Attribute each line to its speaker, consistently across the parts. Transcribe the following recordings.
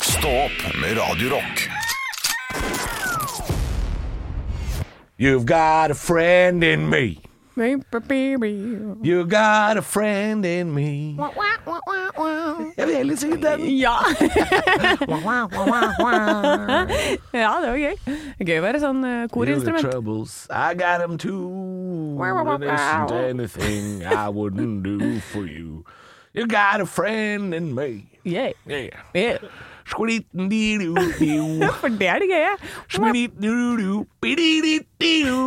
Speaker 1: Stå opp med Radio Rock.
Speaker 2: You've got a friend in me.
Speaker 3: Ja.
Speaker 2: You got a friend in me. er Jeg vil heller synge den.
Speaker 3: ja, det var gøy. Gøy å være sånn eh,
Speaker 2: You're the
Speaker 3: korinstrument.
Speaker 2: troubles, I got 'em too. And there isn't anything I wouldn't do for you. You got a friend in me.
Speaker 3: Yeah.
Speaker 2: Yeah.
Speaker 3: Yeah.
Speaker 2: Sklitten-di-du-di-du.
Speaker 3: For det er det gøye.
Speaker 2: Smididu-du. Bididi-di-du.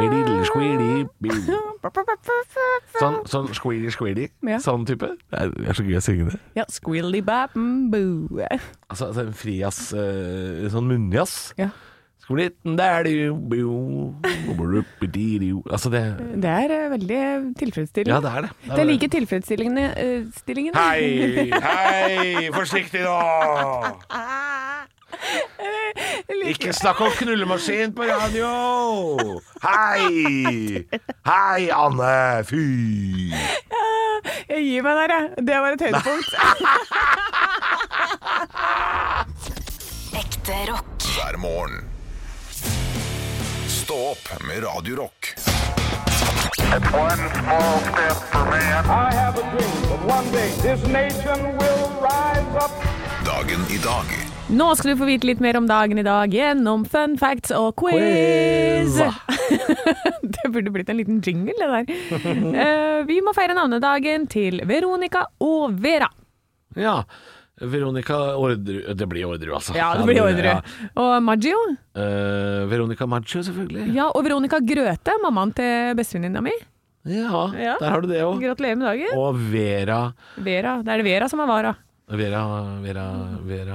Speaker 2: Bididel-skvidi-bidu. Sånn, sånn squeedy-squeedy.
Speaker 3: Ja.
Speaker 2: Sånn type. Det er, det er så gøy å synge det.
Speaker 3: Ja, squilly bap mm, boo.
Speaker 2: Altså, altså en frijazz, eh, sånn munnjazz.
Speaker 3: Ja.
Speaker 2: Splitten der du bo, bo-bo-bo-bo-di-di-o. Altså det
Speaker 3: Det er eh, veldig tilfredsstillende.
Speaker 2: Ja, det er det. Det er
Speaker 3: Det er
Speaker 2: det.
Speaker 3: like tilfredsstillende eh, stillingen.
Speaker 2: Hei, hei, forsiktig nå! Ikke snakk om knullemaskin på radio! Hei! Hei, Anne! Fy!
Speaker 3: Jeg gir meg der, jeg. Det var et høydepunkt.
Speaker 4: Ekte rock.
Speaker 1: hver morgen. Stå opp med Radio Rock.
Speaker 5: It's one small step for man.
Speaker 6: I have a dream that one day this nation will rise up.
Speaker 1: Dagen i dag
Speaker 3: Nå skal du få vite litt mer om dagen i dag gjennom fun facts og quiz. det burde blitt en liten jingle, det der. Eh, vi må feire navnedagen til Veronica og Vera.
Speaker 2: Ja, Veronica Orderud Det blir Orderud, altså.
Speaker 3: Ja, det blir ordre. Og Maggio.
Speaker 2: Eh, Veronica Maggio, selvfølgelig.
Speaker 3: Ja, og Veronica Grøthe, mammaen til bestevenninna mi.
Speaker 2: Ja,
Speaker 3: Ja.
Speaker 2: der har du det òg.
Speaker 3: Gratulerer med dagen.
Speaker 2: Og Vera
Speaker 3: Vera. Det er det Vera som er vara.
Speaker 2: Vera, Vera, Vera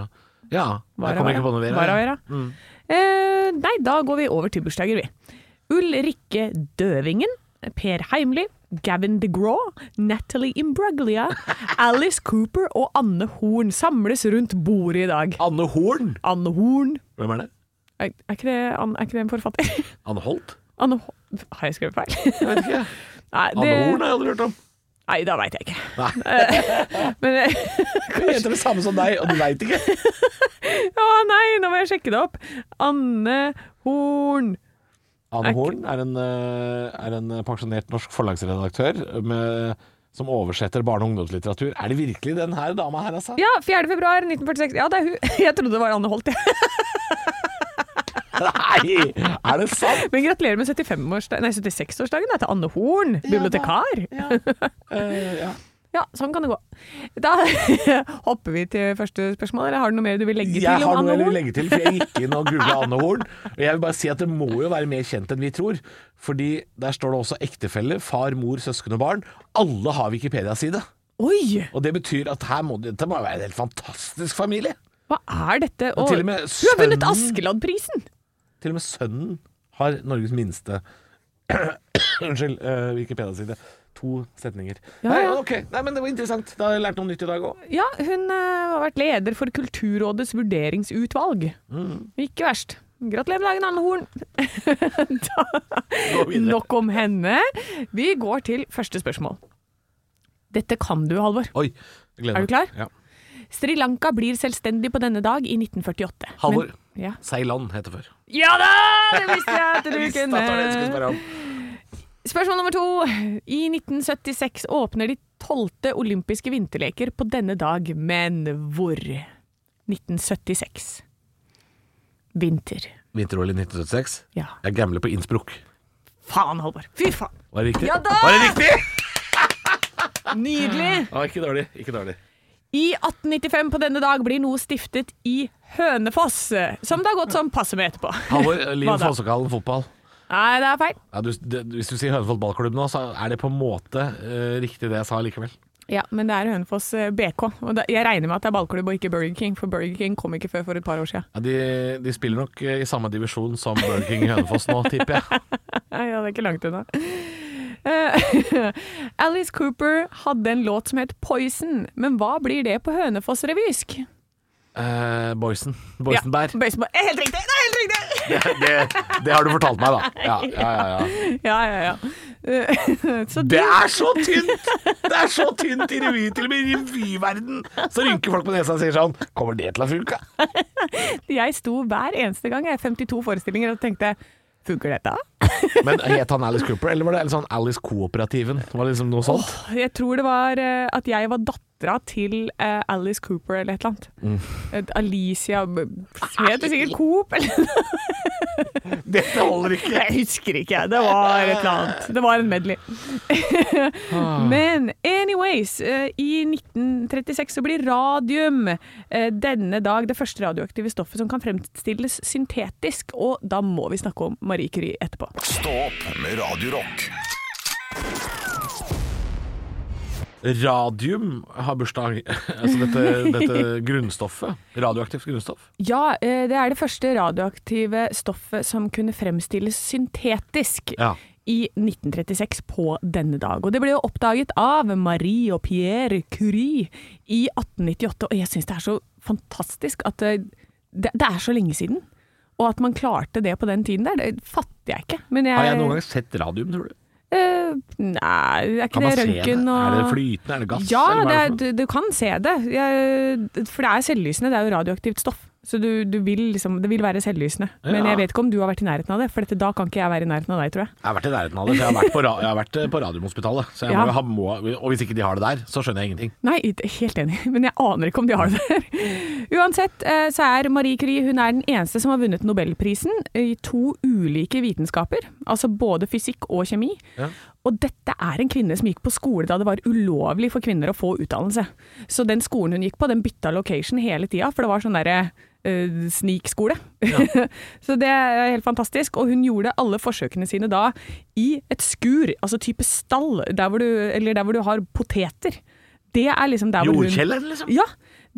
Speaker 2: Ja,
Speaker 3: Vara,
Speaker 2: jeg kommer ikke på noe Mm. Vera.
Speaker 3: Vara, Vera. Eh, nei, da går vi over til bursdager, vi. Ulrikke Døvingen, Per Heimly, Gavin DeGraw, Natalie Imbruglia, Alice Cooper og Anne Horn samles rundt bordet i dag.
Speaker 2: Anne Horn.
Speaker 3: Anne Horn
Speaker 2: Hvem er det?
Speaker 3: Er, er, ikke, det, Anne- er ikke det en forfatter?
Speaker 2: Anne Holt?
Speaker 3: Anne Horn Har jeg skrevet feil?
Speaker 2: Jeg vet ikke.
Speaker 3: Nei,
Speaker 2: Anne Horn
Speaker 3: det,
Speaker 2: har jeg aldri hørt om.
Speaker 3: nei da veit jeg ikke.
Speaker 2: Nei.
Speaker 3: Eh, Men eh,
Speaker 2: Hun heter det samme som deg, og du veit ikke.
Speaker 3: Å nei, nå må jeg sjekke det opp. Anne Horn
Speaker 2: Anne Horn er en, eh, er en pensjonert norsk forlagsredaktør med, som oversetter barne- og ungdomslitteratur. Er det virkelig den her dama her, altså?
Speaker 3: Ja, 4. februar 1946. Ja, det er hun. Jeg trodde det var Anne Holt, jeg.
Speaker 2: Nei! Er det sant?
Speaker 3: Men gratulerer med 75-årsdagen, nei, 76-årsdagen da, til Anne Horn, bibliotekar. Ja,
Speaker 2: Eh, ja.
Speaker 3: sånn kan det gå. Da hopper vi til første spørsmål. Eller har du noe mer du vil legge
Speaker 2: Jeg
Speaker 3: til
Speaker 2: har
Speaker 3: om
Speaker 2: noe
Speaker 3: Anne
Speaker 2: jeg vil
Speaker 3: Horn?
Speaker 2: legge til, for jeg gikk inn og googla Anne Horn. Og jeg vil bare si at det må jo være mer kjent enn vi tror. Fordi der står det også ektefelle, far, mor, søsken og barn. Alle har Wikipedia-side.
Speaker 3: Oi,
Speaker 2: Og det betyr at her må det, dette må jo være en helt fantastisk familie.
Speaker 3: hva er dette?
Speaker 2: Og
Speaker 3: Å,
Speaker 2: til og med
Speaker 3: hun har vunnet
Speaker 2: sønnen-
Speaker 3: Askeladdprisen!
Speaker 2: Til og med sønnen har Norges minste Unnskyld, eh, Wikipedia-side. To setninger.
Speaker 3: Ja,
Speaker 2: Nei,
Speaker 3: ja.
Speaker 2: ok, Nei, men det var interessant. Da har jeg lært noe nytt i dag òg.
Speaker 3: Ja, hun eh, har vært leder for Kulturrådets vurderingsutvalg.
Speaker 2: Mm.
Speaker 3: Ikke verst. Gratulerer med dagen, Anne Horn. da, nok om henne. Vi går til første spørsmål. Dette kan du, Halvor.
Speaker 2: Oi, jeg gleder
Speaker 3: Er
Speaker 2: meg.
Speaker 3: du klar?
Speaker 2: Ja.
Speaker 3: Sri Lanka blir selvstendig på denne dag i 1948.
Speaker 2: Halvor.
Speaker 3: Men- Ja.
Speaker 2: Ceylan heter før.
Speaker 3: ja da! Det visste jeg at du
Speaker 2: Jeg visste at det var det jeg skulle
Speaker 3: kunne.
Speaker 2: spørre om.
Speaker 3: Spørsmål nummer to. I 1976 åpner de tolvte olympiske vinterleker på denne dag, men hvor? 1976. Vinter.
Speaker 2: Vinter-OL i 1976.
Speaker 3: Ja.
Speaker 2: Jeg gambler på Innsbruck.
Speaker 3: Faen, Halvor. Fy faen.
Speaker 2: Var det riktig?
Speaker 3: Ja da!
Speaker 2: Var det riktig?
Speaker 3: Nydelig!
Speaker 2: Ja, ikke dårlig. Ikke dårlig.
Speaker 3: I 1895 på denne dag blir noe stiftet i Hønefoss, som det har gått som passe med etterpå.
Speaker 2: Halvor, Liv
Speaker 3: Hva da?
Speaker 2: Fossekallen fotball.
Speaker 3: Nei, det er feil.
Speaker 2: Ja, du, det, hvis du sier Hønefoss ballklubb nå, så er det på en måte eh, riktig det jeg sa likevel.
Speaker 3: Ja, men det er Hønefoss eh, BK. Og da- jeg regner med at det er ballklubb og ikke Burger King, for Burger King kom ikke før for et par år siden.
Speaker 2: Ja, de, de spiller nok eh, i samme divisjon som Burger King i Hønefoss nå, tipper jeg.
Speaker 3: Nei, ja, det er ikke langt unna. Eh, Alice Cooper hadde en låt som het Poison, men hva blir det på Hønefoss-revysk?
Speaker 2: Eh, Boysen. Boysenbær.
Speaker 3: Ja, Boysenberg. Eh, Helt riktig! Det er helt riktig!
Speaker 2: Det, det har du fortalt meg, da. Ja, ja, ja. ja.
Speaker 3: Ja, ja, ja. Eh, Så
Speaker 2: Det
Speaker 3: du,
Speaker 2: er så tynt! Det er så tynt i revy, til og med i revyverden så rynker folk på nesa og sier sånn Kommer det til å funke?
Speaker 3: jeg sto hver eneste gang, jeg 52 forestillinger, og tenkte Funker dette?
Speaker 2: Men het han Alice Cooper, eller var det sånn Alice Kooperativen? Var det liksom noe sånt?
Speaker 3: Jeg tror det var eh, at jeg var dattera til eh, Alice Cooper eller et eller annet.
Speaker 2: Mm.
Speaker 3: Et Alicia b- Heter sikkert Coop, eller
Speaker 2: Dette holder ikke!
Speaker 3: Jeg husker ikke, det var et eller annet. Det var en medley.
Speaker 2: Ah.
Speaker 3: Men anyways, eh, i 1936 så blir radium eh, denne dag det første radioaktive stoffet som kan fremstilles syntetisk, og da må vi snakke om Marie Curie etterpå.
Speaker 1: Stå opp med Radio Rock.
Speaker 2: Radium har bursdag, altså dette, dette grunnstoffet. Radioaktivt grunnstoff.
Speaker 3: Ja, eh, det er det første radioaktive stoffet som kunne fremstilles syntetisk.
Speaker 2: Ja.
Speaker 3: I 1936 på denne dag. Og det ble jo oppdaget av Marie og Pierre Curie i 1898. Og jeg syns det er så fantastisk at eh, det, det er så lenge siden. Og at man klarte det på den tiden der, det fatter jeg ikke. Men jeg,
Speaker 2: Har jeg noen gang sett radium, tror du?
Speaker 3: Eh, nei, er ikke
Speaker 2: Kan
Speaker 3: det
Speaker 2: man se det?
Speaker 3: røntgen og
Speaker 2: Er det flytende? Er det gass?
Speaker 3: ja,
Speaker 2: eller hva
Speaker 3: det
Speaker 2: er det
Speaker 3: er,
Speaker 2: for noe?
Speaker 3: du, du kan se det. Jeg, for det er selvlysende, det er jo radioaktivt stoff. Så du, du vil liksom, det vil være selvlysende. Men
Speaker 2: Ja.
Speaker 3: jeg vet ikke om du har vært i nærheten av det, for dette, da kan ikke jeg være i nærheten av deg, tror jeg.
Speaker 2: Jeg har vært i nærheten av det. for Jeg har vært på, ra jeg har vært eh, på Radiumhospitalet. Så jeg må,
Speaker 3: Ja.
Speaker 2: jo ha, må, og hvis ikke de har det der, så skjønner jeg ingenting.
Speaker 3: Nei, it- helt enig, men jeg aner ikke om de har det der. Uansett eh, så er Marie Curie hun er den eneste som har vunnet Nobelprisen i to ulike vitenskaper, altså både fysikk og kjemi.
Speaker 2: Ja.
Speaker 3: Og dette er en kvinne som gikk på skole da det var ulovlig for kvinner å få utdannelse. Så den skolen hun gikk på, den bytta location hele tida, for det var sånn derre eh, snikskole. så det er helt fantastisk. Og hun gjorde alle forsøkene sine da i et skur, altså type stall, der hvor du, eller der hvor du har poteter. Det er liksom der hvor hun
Speaker 2: Jordkjelleren, liksom?
Speaker 3: ja.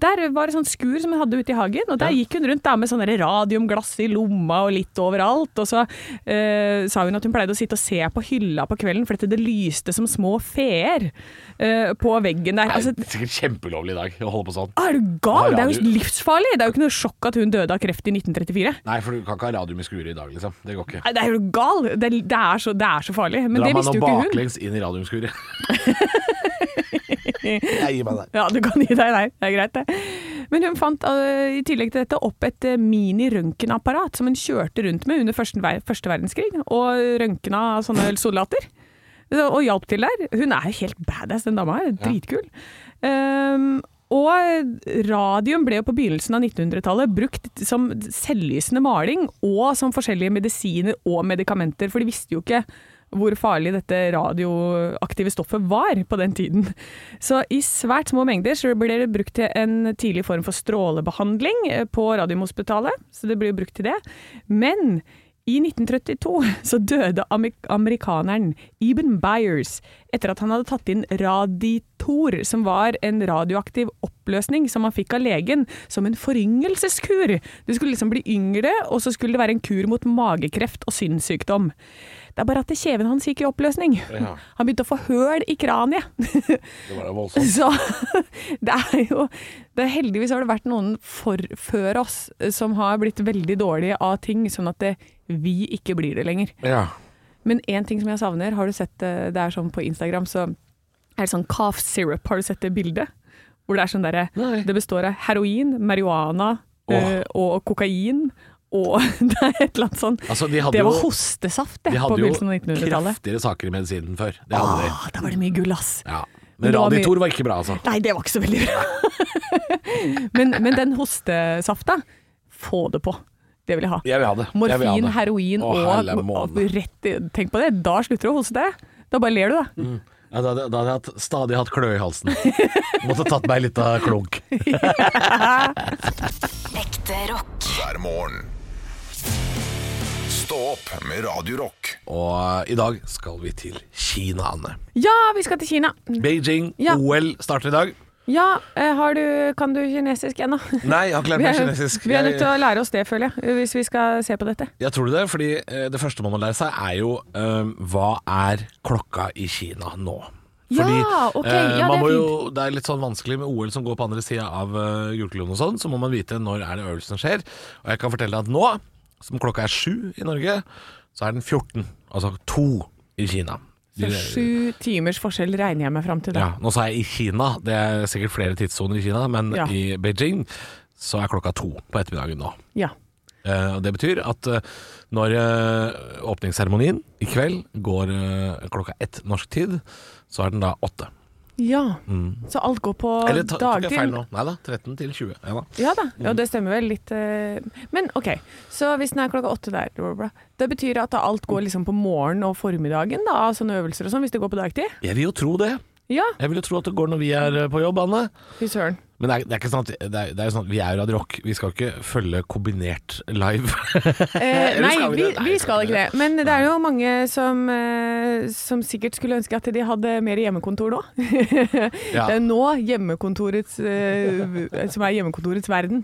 Speaker 3: Der var det sånn skur som hun hadde ute i hagen, og der gikk hun rundt da med sånne der radiumglass i lomma og litt overalt. Og så eh, sa hun at hun pleide å sitte og se på hylla på kvelden fordi det lyste som små feer eh, på veggen der. Altså,
Speaker 2: det er sikkert kjempeulovlig i dag å holde på sånn.
Speaker 3: er du gal?
Speaker 2: Ja,
Speaker 3: Det er
Speaker 2: du-
Speaker 3: jo livsfarlig! Det er jo ikke noe sjokk at hun døde av kreft i 1934.
Speaker 2: Nei, for du kan ikke ha radium i skuret i dag, liksom. Det går ikke.
Speaker 3: Nei, Det er jo gal! Det, det, er, så, det er så farlig. Men
Speaker 2: Dra
Speaker 3: det
Speaker 2: meg nå
Speaker 3: visste jo ikke hun.
Speaker 2: baklengs inn i radiumskuret. jeg gir meg der.
Speaker 3: Ja, du kan gi deg der. Det er greit, det. Men hun fant eh, i tillegg til dette opp et eh, mini-røntgenapparat som hun kjørte rundt med under første, ver første verdenskrig, og røntgena sånne soldater. Så- Og hjalp til der. Hun er jo helt badass, den dama her. Dritkul. Ehm, og radium ble jo på begynnelsen av 1900-tallet brukt som selvlysende maling og som forskjellige medisiner og medikamenter, for de visste jo ikke hvor farlig dette radioaktive stoffet var på den tiden. Så i svært små mengder så ble det brukt til en tidlig form for strålebehandling eh, på Radiumhospitalet, så det ble jo brukt til det. Men i 1932 så døde amer- amerikaneren Eben Byers etter at han hadde tatt inn Raditor, som var en radioaktiv oppløsning som han fikk av legen som en foryngelseskur. Du skulle liksom bli yngre, og så skulle det være en kur mot magekreft og synssykdom. Det er bare at kjeven hans gikk i oppløsning. Han begynte å få høl i kraniet.
Speaker 2: Det var jo voldsomt.
Speaker 3: Så det er jo det er Heldigvis har det vært noen for, før oss eh, som har blitt veldig dårlige av ting, sånn at det, vi ikke blir det lenger.
Speaker 2: Ja.
Speaker 3: Men én ting som jeg savner, har du sett eh, det er sånn på Instagram, så er det sånn cough syrup. Har du sett det bildet? Hvor det er sånn derre
Speaker 2: Nei.
Speaker 3: Det består av heroin, marihuana
Speaker 2: Åh.
Speaker 3: eh, og kokain. Og det er et eller annet sånn
Speaker 2: Altså, de hadde
Speaker 3: Det var
Speaker 2: jo-
Speaker 3: hostesaft, det,
Speaker 2: De
Speaker 3: på
Speaker 2: hadde jo
Speaker 3: begynnelsen av 1900-tallet.
Speaker 2: kraftigere saker i medisinen før. Det hadde de.
Speaker 3: Ah, da var det mye gull, ass.
Speaker 2: Ja.
Speaker 3: Men
Speaker 2: Men
Speaker 3: det var mye-
Speaker 2: Raditor var ikke bra, altså.
Speaker 3: Nei, det var ikke så veldig bra. men, men den hostesafta, få det på. Det vil jeg ha.
Speaker 2: Jeg vil ha det. Jeg vil ha
Speaker 3: Morfin,
Speaker 2: det.
Speaker 3: heroin
Speaker 2: Å,
Speaker 3: og,
Speaker 2: helle
Speaker 3: og
Speaker 2: måne.
Speaker 3: rett i, Tenk på det, da slutter du å hoste. Da bare ler du, da.
Speaker 2: Ja, da, da da hadde jeg hatt, stadig hatt kløe i halsen. Måtte tatt meg litt av klunk.
Speaker 4: Ekte rock.
Speaker 1: hver morgen. Stå opp med Radio Rock.
Speaker 2: Og eh, i dag skal vi til Kina, Anne.
Speaker 3: Ja, vi skal til Kina.
Speaker 2: Beijing,
Speaker 3: Ja.
Speaker 2: OL starter i dag.
Speaker 3: Ja, eh, har du, kan du kinesisk ennå?
Speaker 2: Nei, jeg har ikke lært
Speaker 3: Vi
Speaker 2: meg
Speaker 3: er,
Speaker 2: kinesisk.
Speaker 3: vi er nødt til
Speaker 2: Jeg,
Speaker 3: å lære oss det, føler jeg, hvis vi skal se på dette.
Speaker 2: jeg tror det, fordi eh, det første man må lære seg er jo eh, hva er klokka i Kina nå?
Speaker 3: Ja, ok,
Speaker 2: eh,
Speaker 3: ja,
Speaker 2: man
Speaker 3: det er
Speaker 2: må Jo, det er litt sånn vanskelig med OL som går på andre sida av uh, jordkloden og sånn, så må man vite når er det øvelsen skjer. Og jeg kan fortelle deg at nå, som klokka er sju i Norge, så er den 14, altså to i Kina.
Speaker 3: Så sju timers forskjell regner jeg meg fram til, da.
Speaker 2: Ja, nå sa jeg i Kina. Det er sikkert flere tidssoner i Kina, men
Speaker 3: Ja.
Speaker 2: i Beijing så er klokka to på ettermiddagen nå.
Speaker 3: Ja.
Speaker 2: Eh, og det betyr at eh, når eh, åpningsseremonien i kveld går eh, klokka ett norsk tid, så er den da åtte.
Speaker 3: ja. Så alt går på
Speaker 2: Mm. Eller ta, tok jeg feil
Speaker 3: dagtid.
Speaker 2: nå? Nei da, 13 til 20. Ja da.
Speaker 3: Ja da,
Speaker 2: Mm.
Speaker 3: ja, det stemmer vel litt. eh, Men OK, så hvis den er klokka åtte der, bla, bla, bla, det betyr at alt går liksom på morgenen og formiddagen, da, av sånne øvelser og sånn, hvis det går på dagtid?
Speaker 2: Jeg vil jo tro det.
Speaker 3: Ja,
Speaker 2: Jeg vil jo tro at det går når vi er eh, på jobb, Anne.
Speaker 3: fy søren.
Speaker 2: Men det er, det er ikke sånn at det er, det er jo sånn at vi er jo Radio Rock. Vi skal ikke følge kombinert live.
Speaker 3: Eh,
Speaker 2: Eller
Speaker 3: nei,
Speaker 2: skal vi det? Nei,
Speaker 3: vi, vi
Speaker 2: vi
Speaker 3: skal
Speaker 2: skal
Speaker 3: ikke det. Men det er jo mange som, eh, som sikkert skulle ønske at de hadde mer hjemmekontor nå.
Speaker 2: Ja.
Speaker 3: Det er nå hjemmekontorets eh, Som er hjemmekontorets verden.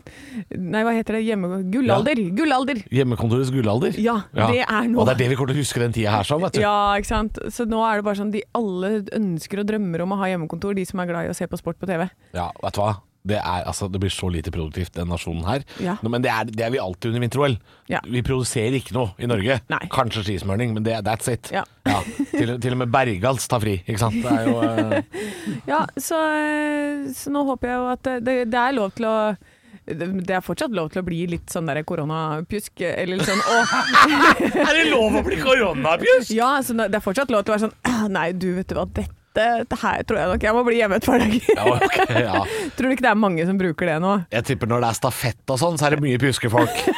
Speaker 3: Nei, hva heter det? Hjemme... Gullalder! Gullalder!
Speaker 2: Hjemmekontorets gullalder.
Speaker 3: Ja, det er nå.
Speaker 2: Og det er det vi kommer til å huske den tida her som, vet du.
Speaker 3: Ja, ikke sant. Så nå er det bare sånn de alle ønsker og drømmer om å ha hjemmekontor, de som er glad i å se på sport på TV.
Speaker 2: Ja, vet du hva? Det, er, altså, det blir så lite produktivt, den nasjonen her.
Speaker 3: Ja.
Speaker 2: Nå, men det er, det er vi alltid under vinter-OL.
Speaker 3: Ja.
Speaker 2: Vi produserer ikke noe i Norge.
Speaker 3: Nei.
Speaker 2: Kanskje skismøring, men det, that's it.
Speaker 3: Ja.
Speaker 2: Til, til og med Bergals tar fri, ikke sant. Det er jo, eh,
Speaker 3: Ja, så, eh, så nå håper jeg jo at det, det- det er lov til å det det er fortsatt lov til å bli litt sånn der koronapjusk, eller litt sånn åh.
Speaker 2: er det lov å bli koronapjusk?!
Speaker 3: Ja, så det er fortsatt lov til å være sånn «Ah, Nei, du vet du hva, dette, dette her tror jeg nok jeg må bli hjemme et par dager.
Speaker 2: Ja, ok, ja.
Speaker 3: Tror du ikke det er mange som bruker det nå?
Speaker 2: Jeg tipper når det er stafett og sånn, så er det mye pjuskefolk.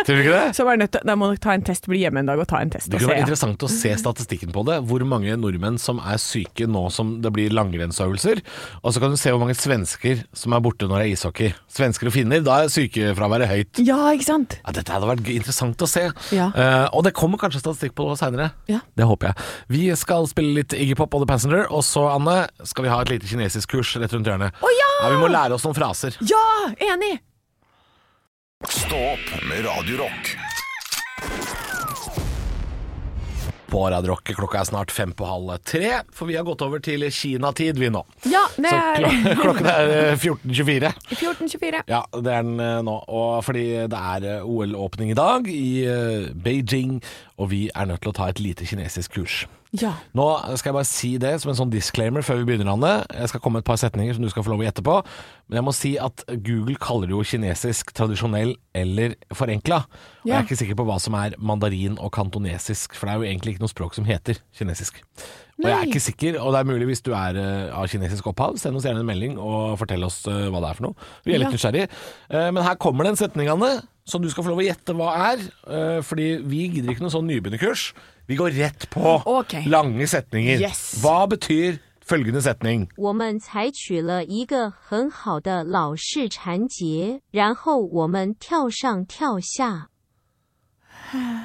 Speaker 2: Tror du ikke det?
Speaker 3: Så er nødt til, da må nok ta en test, bli hjemme en dag og ta en test.
Speaker 2: Det
Speaker 3: Og
Speaker 2: kunne
Speaker 3: se.
Speaker 2: vært
Speaker 3: ja.
Speaker 2: interessant å se statistikken på det. Hvor mange nordmenn som er syke nå som det blir langrennsøvelser. Og så kan du se hvor mange svensker som er borte når det er ishockey. Svensker og finner, da er sykefraværet høyt.
Speaker 3: Ja, ikke sant?
Speaker 2: Ja, dette hadde vært g- interessant å se.
Speaker 3: Ja.
Speaker 2: Eh, og det kommer kanskje statistikk på det seinere.
Speaker 3: Ja.
Speaker 2: Det håper jeg. Vi skal spille litt Iggy Pop og The Passenger, og så, Anne, skal vi ha et lite kinesisk kurs rett rundt hjørnet.
Speaker 3: Å ja!
Speaker 2: vi må lære oss noen fraser.
Speaker 3: Ja, enig!
Speaker 1: Stå opp med Radio Rock.
Speaker 2: På Radio Rock klokka er snart fem på halv tre, for vi har gått over til kinatid, vi nå.
Speaker 3: Ja, det
Speaker 2: Så
Speaker 3: er
Speaker 2: klo klokken er eh, 14.24.
Speaker 3: 1424.
Speaker 2: Ja, det er den eh, nå. Og fordi det er eh, OL-åpning i dag i eh, Beijing, og vi er nødt til å ta et lite kinesisk kurs.
Speaker 3: Ja.
Speaker 2: Nå skal jeg bare si det som en sånn disclaimer før vi begynner, Anne. Jeg skal komme med et par setninger som du skal få lov å gjette på. Men jeg må si at Google kaller det jo kinesisk tradisjonell eller forenkla. Og jeg
Speaker 3: Ja.
Speaker 2: er ikke sikker på hva som er mandarin og kantonesisk, for det er jo egentlig ikke noe språk som heter kinesisk. Og jeg
Speaker 3: Nei.
Speaker 2: er ikke sikker, og det er mulig hvis du er eh, av kinesisk opphav, send oss gjerne en melding og fortell oss eh, hva det er for noe. Vi er litt
Speaker 3: Ja.
Speaker 2: nysgjerrig. Eh, men her kommer det en setning, Anne, som du skal få lov å gjette hva er. eh, fordi vi gidder ikke noe sånn nybegynnerkurs. Vi går rett på
Speaker 3: Ok.
Speaker 2: lange setninger.
Speaker 3: Yes.
Speaker 2: Hva betyr følgende setning?
Speaker 4: 我们采取了一个很好的老式缠结，然后我们跳上跳下。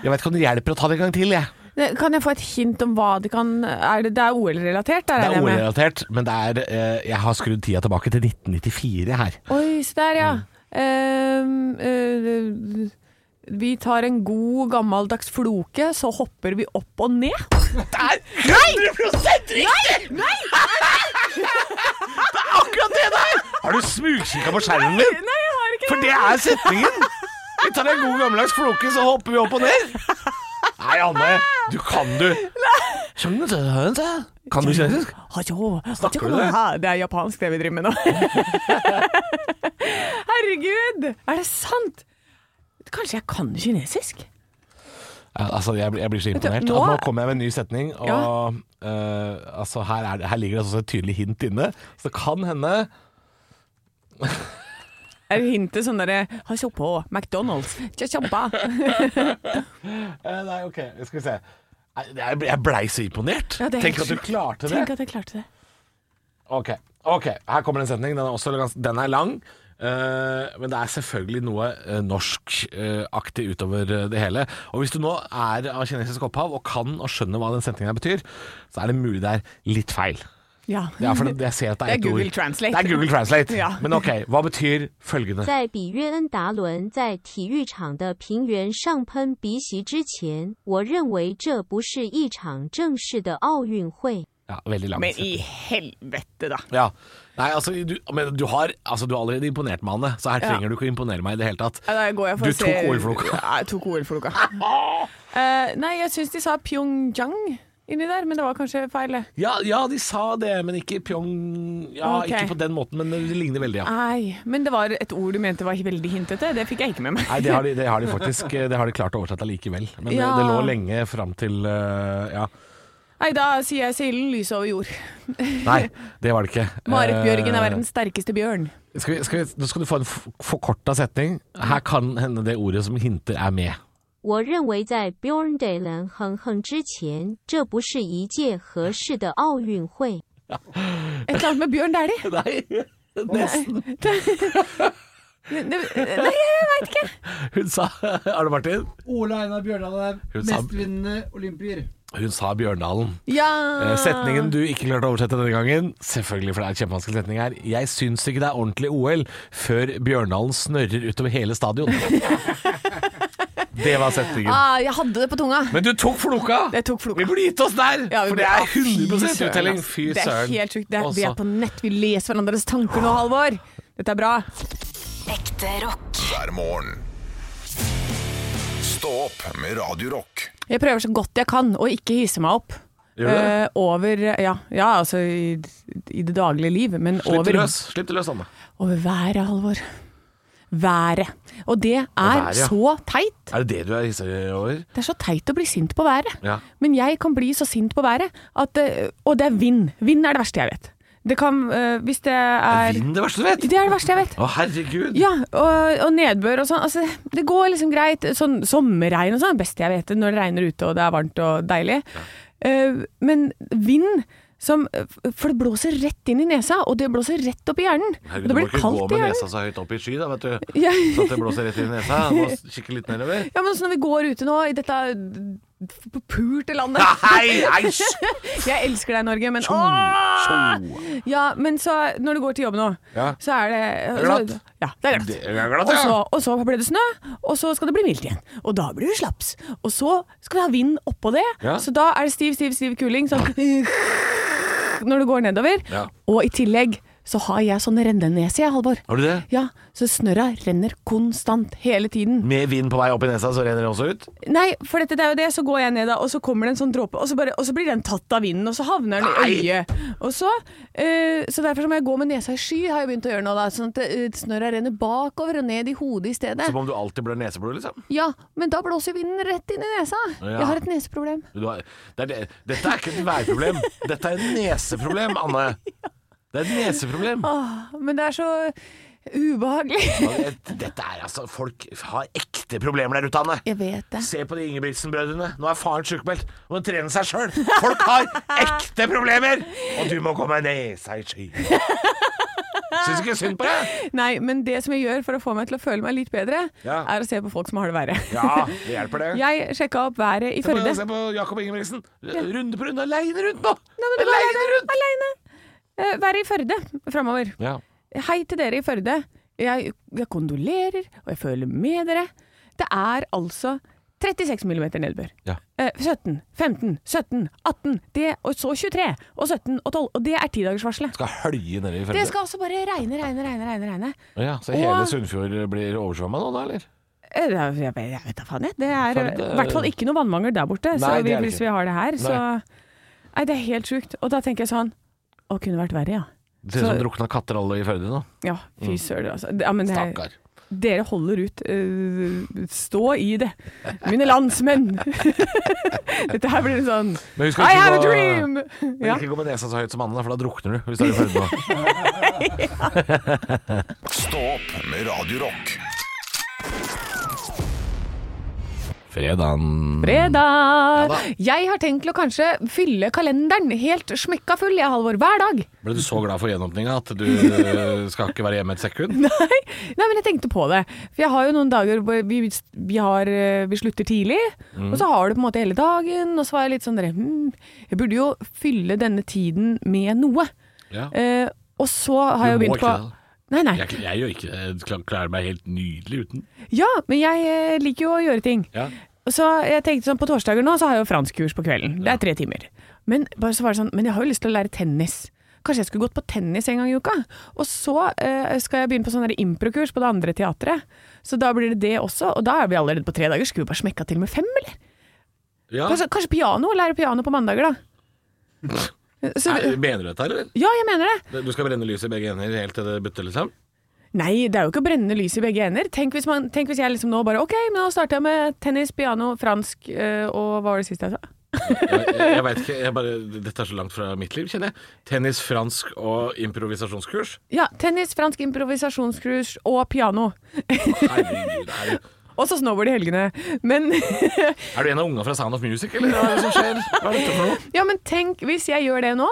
Speaker 2: Jeg vet ikke om det hjelper å ta det en gang til, jeg.
Speaker 3: Ne, Kan jeg få et hint om hva det kan Er det, det er OL-relatert? der
Speaker 2: Det er
Speaker 3: regner jeg med.
Speaker 2: ordrelatert, men det er, eh, jeg har skrudd tida tilbake til 1994 her.
Speaker 3: Oi, se der, ja.
Speaker 2: Mm.
Speaker 3: Ehm, eh, vi tar en god, gammeldags floke, så hopper vi opp og ned.
Speaker 2: Akkurat det der! Har du smugkikka på skjermen min?
Speaker 3: Nei, jeg har ikke
Speaker 2: For det er setningen! Vi tar en god gammeldags floke, så hopper vi opp og ned. Nei, Anne. Du kan, du. Skjønner du det? Kan du kinesisk?
Speaker 3: Hajo,
Speaker 2: Snakker
Speaker 3: hajo,
Speaker 2: du det?
Speaker 3: ha, Det er japansk, det vi driver med nå. Herregud! Er det sant? Kanskje jeg kan kinesisk?
Speaker 2: Ja, altså, jeg, blir- jeg blir så
Speaker 3: Vet du,
Speaker 2: imponert.
Speaker 3: nå-
Speaker 2: Nå, nå kommer jeg med en ny setning, og
Speaker 3: Ja.
Speaker 2: eh, altså, her, er, det- her ligger det også et tydelig hint inne. Så det kan hende
Speaker 3: Er hintet sånn derre Hajo på McDonald's. Tja, tjabba.
Speaker 2: eh, Nei, OK, skal vi se. Nei, Jeg, jeg blei så imponert.
Speaker 3: Ja, det er
Speaker 2: Tenk at
Speaker 3: helt
Speaker 2: du
Speaker 3: sjukt.
Speaker 2: klarte det.
Speaker 3: Tenk at jeg klarte det.
Speaker 2: Ok, ok, her kommer en setning Den er, også, gans- den er lang eh, Men det er selvfølgelig noe eh, norskaktig utover eh, det hele Og hvis du nå er av kinesisk opphav Og kan og skjønner hva den setningen her betyr Så er det mulig det er litt feil
Speaker 3: Ja.
Speaker 2: ja, for det, jeg ser at det, er
Speaker 3: Det er
Speaker 2: ett ord.
Speaker 3: Google Translate.
Speaker 2: Det er Google Translate
Speaker 3: Ja.
Speaker 2: Men ok, hva betyr følgende?
Speaker 4: 在比约恩达伦在体育场的平原上喷鼻息之前，我认为这不是一场正式的奥运会。
Speaker 2: Ja, veldig lang
Speaker 3: Men
Speaker 2: setning
Speaker 3: i helvete, da.
Speaker 2: ja. Nei, altså, du, men du har, altså, du har allerede imponert meg, Anne Så her
Speaker 3: Ja.
Speaker 2: trenger du ikke å imponere meg i det hele tatt
Speaker 3: Ja, da går jeg for
Speaker 2: Du
Speaker 3: å se-
Speaker 2: tok OL-floka.
Speaker 3: Ja, jeg tok OL-floka. Eh, nei, jeg syns de sa Pyeongchang. inni der, men det var kanskje feil, det.
Speaker 2: Ja, ja, de sa det, men ikke Pyong Ja,
Speaker 3: Ok. Ah.
Speaker 2: ikke på den måten, men det ligner veldig, ja.
Speaker 3: Nei, men det var et ord du mente var veldig hintete. Det fikk jeg ikke med meg.
Speaker 2: Nei, det har de, det har de faktisk eh, Det har de klart å oversette likevel. Men det,
Speaker 3: Ja.
Speaker 2: det lå lenge fram til eh, Ja.
Speaker 3: Nei, da sier jeg seilen lys over jord.
Speaker 2: Nei, det var det ikke.
Speaker 3: Marit Bjørgen er
Speaker 2: Eh,
Speaker 3: verdens sterkeste bjørn.
Speaker 2: skal vi, skal vi, Nå skal du få en f- forkorta setning. Her kan hende det ordet som hinter, er med.
Speaker 4: 我认为在 Bjorn Dalen 哼哼之前，这不是一届合适的奥运会。
Speaker 3: Et eller annet med bjørn Dæhlie.
Speaker 2: Nei, nesten.
Speaker 3: Det- det- Nei, jeg veit ikke.
Speaker 2: Hun sa Arne Martin?
Speaker 7: Ole Einar Bjørndal er
Speaker 2: Hun sa-
Speaker 7: mestvinnende olympier.
Speaker 2: Hun sa Bjørndalen.
Speaker 3: Ja.
Speaker 2: Eh, Setningen du ikke klarte å oversette denne gangen, selvfølgelig, for det er en kjempevanskelig setning her. Jeg syns ikke det er ordentlig OL før Bjørndalen snørrer utover hele stadion. Det var setningen.
Speaker 3: ah, Jeg hadde det på tunga.
Speaker 2: Men du tok floka!
Speaker 3: Jeg tok floka.
Speaker 2: Vi burde gitt oss der!
Speaker 3: Ja,
Speaker 2: for det er
Speaker 3: fy
Speaker 2: 100
Speaker 3: søren,
Speaker 2: uttelling.
Speaker 3: ass.
Speaker 2: Fy
Speaker 3: Det er
Speaker 2: søren.
Speaker 3: helt sjukt. Det er, vi
Speaker 2: Også-
Speaker 3: er på nett, vi leser hverandres tanker nå, Halvor. Dette er bra.
Speaker 8: Ekte rock.
Speaker 1: hver morgen. Stå opp med Radio Rock.
Speaker 3: Jeg prøver så godt jeg kan å ikke hisse meg opp.
Speaker 2: Gjør du det?
Speaker 3: Eh, over ja, ja, altså i, i det daglige liv, men
Speaker 2: Slipp det
Speaker 3: over,
Speaker 2: løs, Slipp det løs, Anne.
Speaker 3: over været, Halvor. Været. Og det er
Speaker 2: Været, ja.
Speaker 3: så teit.
Speaker 2: Er det det du er hissa over?
Speaker 3: Det er så teit å bli sint på været.
Speaker 2: Ja.
Speaker 3: Men jeg kan bli så sint på været at eh, Og det er vind. Vind er det verste jeg vet. Det kan eh, Hvis det er
Speaker 2: Vinn det verste du vet!
Speaker 3: Det er det verste jeg vet.
Speaker 2: Å, herregud!
Speaker 3: Ja, og, og nedbør og sånn. Altså, det går liksom greit. Sånn sommerregn og sånn er det beste jeg vet. Når det regner ute og det er varmt og deilig. Eh, men vind som For det blåser rett inn i nesa, og det blåser rett opp i hjernen. og
Speaker 2: Herregud,
Speaker 3: det
Speaker 2: du må
Speaker 3: blir
Speaker 2: ikke gå
Speaker 3: kaldt i
Speaker 2: med
Speaker 3: hjernen.
Speaker 2: nesa altså. så høyt opp i sky, da, vet du.
Speaker 3: Ja.
Speaker 2: Så at det blåser rett inn i nesa. Du må kikke litt nedover.
Speaker 3: ja, men også når vi går ute nå i dette eh, purte landet
Speaker 2: Hei, hei! sj-
Speaker 3: Jeg elsker deg, Norge, men
Speaker 2: Tjo, tjo.
Speaker 3: Ja, men så når du går til jobb nå,
Speaker 2: Ja.
Speaker 3: så er det
Speaker 2: glatt.
Speaker 3: Så, ja, det er glatt.
Speaker 2: Det er glatt,
Speaker 3: og,
Speaker 2: ja.
Speaker 3: så, og så ble det snø, og så skal det bli mildt igjen. Og da blir det slaps. Og så skal vi ha vind oppå det,
Speaker 2: Ja.
Speaker 3: så da er det stiv, stiv, stiv kuling sånn når du går nedover.
Speaker 2: Ja.
Speaker 3: Og i tillegg så har jeg sånn rennenes, jeg, Halvor.
Speaker 2: Har du det?
Speaker 3: Ja, så snørra renner konstant hele tiden.
Speaker 2: Med vind på vei opp i nesa, så renner det også ut?
Speaker 3: Nei, for dette det er jo det, så går jeg ned da, og så kommer det en sånn dråpe, og så, bare, og så blir den tatt av vinden, og så havner den i øyet. Og så, eh, så derfor så må jeg gå med nesa i sky, har jeg begynt å gjøre nå da, sånn at eh, snørra renner bakover og ned i hodet i stedet.
Speaker 2: Som om du alltid blør neseblod, liksom?
Speaker 3: Ja, men da blåser vinden rett inn i nesa.
Speaker 2: Ja.
Speaker 3: Jeg har et neseproblem.
Speaker 2: Du har, det er, det, dette er ikke et værproblem, dette er et neseproblem, Anne. Det er et neseproblem.
Speaker 3: Åh, men det er så ubehagelig.
Speaker 2: Ja, det- Dette er altså Folk har ekte problemer der ute, Anne.
Speaker 3: Jeg vet det.
Speaker 2: Se på de Ingebrigtsen-brødrene. Nå er faren sjukmeldt, og hun trener seg sjøl. Folk har ekte problemer! Og du må komme nesa i sky. Syns ikke synd på deg?
Speaker 3: Nei, men det som jeg gjør for å få meg til å føle meg litt bedre,
Speaker 2: Ja.
Speaker 3: er å se på folk som har det verre.
Speaker 2: Ja, det hjelper, det.
Speaker 3: Jeg sjekka opp været i
Speaker 2: Se på,
Speaker 3: Førde.
Speaker 2: se på Jakob Ingebrigtsen. Runde på runde. Aleine rundt nå!
Speaker 3: Nei, men du var
Speaker 2: Aleine
Speaker 3: alene.
Speaker 2: rundt!
Speaker 3: alene. Eh, Være i Førde framover.
Speaker 2: Ja.
Speaker 3: Hei til dere i Førde. Jeg, jeg kondolerer, og jeg føler med dere. Det er altså 36 millimeter nedbør.
Speaker 2: Ja.
Speaker 3: Eh, 17, 15, 17, 18, det, og så 23, og 17 og 12. Og det er tidagersvarselet.
Speaker 2: Skal hølje nedi i
Speaker 3: Det skal altså bare regne, regne, regne. regne, regne.
Speaker 2: Ja, så
Speaker 3: hele
Speaker 2: hele
Speaker 3: Og-
Speaker 2: Sunnfjord blir oversvømma nå, da, eller?
Speaker 3: Eh, det er- Jeg, vet- jeg vet da faen, jeg. Det er
Speaker 2: Førde-
Speaker 3: i hvert fall ikke noe vannmangel der borte.
Speaker 2: Nei,
Speaker 3: så
Speaker 2: det
Speaker 3: vi,
Speaker 2: er det
Speaker 3: hvis vi har det her, så Nei, det er helt sjukt. Og da tenker jeg sånn Å, kunne vært verre, ja.
Speaker 2: Det ser ut
Speaker 3: Så-
Speaker 2: som drukna katter alle i Førde nå.
Speaker 3: Ja, fy søren, altså. Ja, men det er-
Speaker 2: Mm. Stakkar.
Speaker 3: Dere holder ut. eh, stå i det, mine landsmenn. Dette her blir en sånn
Speaker 2: Men husk å
Speaker 3: I
Speaker 2: ikke
Speaker 3: have a
Speaker 2: gå-
Speaker 3: dream!
Speaker 2: Men
Speaker 3: Ja.
Speaker 2: Ikke gå med nesa så høyt som Anne, da, for da drukner du. Hvis du er i Førde nå.
Speaker 1: Stå opp med Radio Rock.
Speaker 2: Fredagen
Speaker 3: Fredag!
Speaker 2: Mm. da.
Speaker 3: Jeg har tenkt til å kanskje fylle kalenderen helt smekka full, jeg, Halvor, hver dag.
Speaker 2: Ble du så glad for gjenåpninga at du eh, skal ikke være hjemme et sekund?
Speaker 3: Nei, nei, men jeg tenkte på det. For jeg har jo noen dager hvor vi, vi, har, eh, vi slutter tidlig,
Speaker 2: Mm.
Speaker 3: og så har du på en måte hele dagen, og så var jeg litt sånn der, hmm, Jeg burde jo fylle denne tiden med noe.
Speaker 2: Ja.
Speaker 3: Eh, og så har
Speaker 2: Du
Speaker 3: jeg jo
Speaker 2: må
Speaker 3: begynt på
Speaker 2: ikke det, da.
Speaker 3: Nei, nei.
Speaker 2: Jeg, jeg gjør ikke det. Jeg kla- klarer meg helt nydelig uten.
Speaker 3: Ja, men jeg eh, liker jo å gjøre ting.
Speaker 2: Ja.
Speaker 3: Så jeg tenkte sånn, på torsdager nå så har jeg jo franskkurs på kvelden. Det er tre timer. Men bare så var det sånn, men jeg har jo lyst til å lære tennis. Kanskje jeg skulle gått på tennis en gang i uka? Og så eh, skal jeg begynne på sånn der improkurs på det andre teatret. Så da blir det det også, og da er vi allerede på tre dager. Skulle vi bare smekka til med fem, eller?
Speaker 2: Ja.
Speaker 3: Kanskje, kanskje piano? Lære piano på mandager, da. Så,
Speaker 2: Er- Eh, Mener du dette, eller?
Speaker 3: ja, jeg mener det.
Speaker 2: Du skal brenne lyset i begge ender helt til det butter, liksom?
Speaker 3: Nei, det er jo ikke å brenne lys i begge ender. Tenk hvis, man, tenk hvis jeg liksom nå bare OK, men nå starter jeg med tennis, piano, fransk eh, og hva var det siste jeg sa?
Speaker 2: Jeg, jeg vet ikke, jeg bare, Dette er så langt fra mitt liv, kjenner jeg. Tennis, fransk og improvisasjonskurs.
Speaker 3: Ja, tennis, fransk improvisasjonskurs og piano.
Speaker 2: Herregud, er du,
Speaker 3: Og så snowboard i helgene. Men,
Speaker 2: er du en av unga fra Sound of Music, eller hva er det som skjer? Hva er dette for noe?
Speaker 3: ja, men tenk hvis jeg gjør det nå,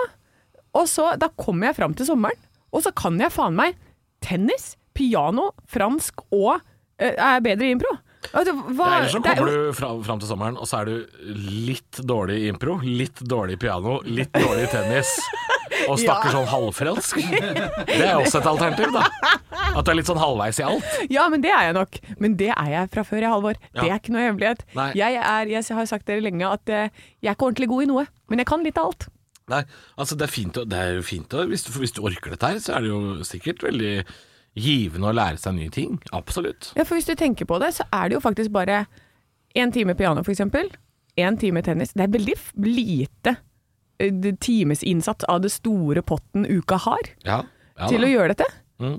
Speaker 3: og så Da kommer jeg fram til sommeren, og så kan jeg faen meg tennis, piano, fransk og eh, er bedre i impro. Altså, hva-
Speaker 2: Eller så
Speaker 3: det er jo-
Speaker 2: kommer du fra, fram til sommeren, og så er du litt dårlig i impro, litt dårlig i piano, litt dårlig i tennis, og snakker sånn halvfrelsk. Det er også et alternativ, da. At du er litt sånn halvveis i alt.
Speaker 3: Ja, men det er jeg nok. Men det er jeg fra før, jeg, Halvor. Det er ikke noe hemmelighet.
Speaker 2: Nei.
Speaker 3: Jeg, er, jeg har sagt dere lenge at eh, jeg er ikke ordentlig god i noe, men jeg kan litt av alt.
Speaker 2: Nei, altså det er fint, å- det er jo fint å, hvis, du, hvis du orker dette her, så er det jo sikkert veldig givende å lære seg nye ting. Absolutt.
Speaker 3: Ja, For hvis du tenker på det, så er det jo faktisk bare én time piano, for eksempel. Én time tennis. Det er veldig f- lite eh, det- timesinnsats av det store potten uka har
Speaker 2: Ja, ja
Speaker 3: til
Speaker 2: da. Mm.
Speaker 3: å gjøre dette.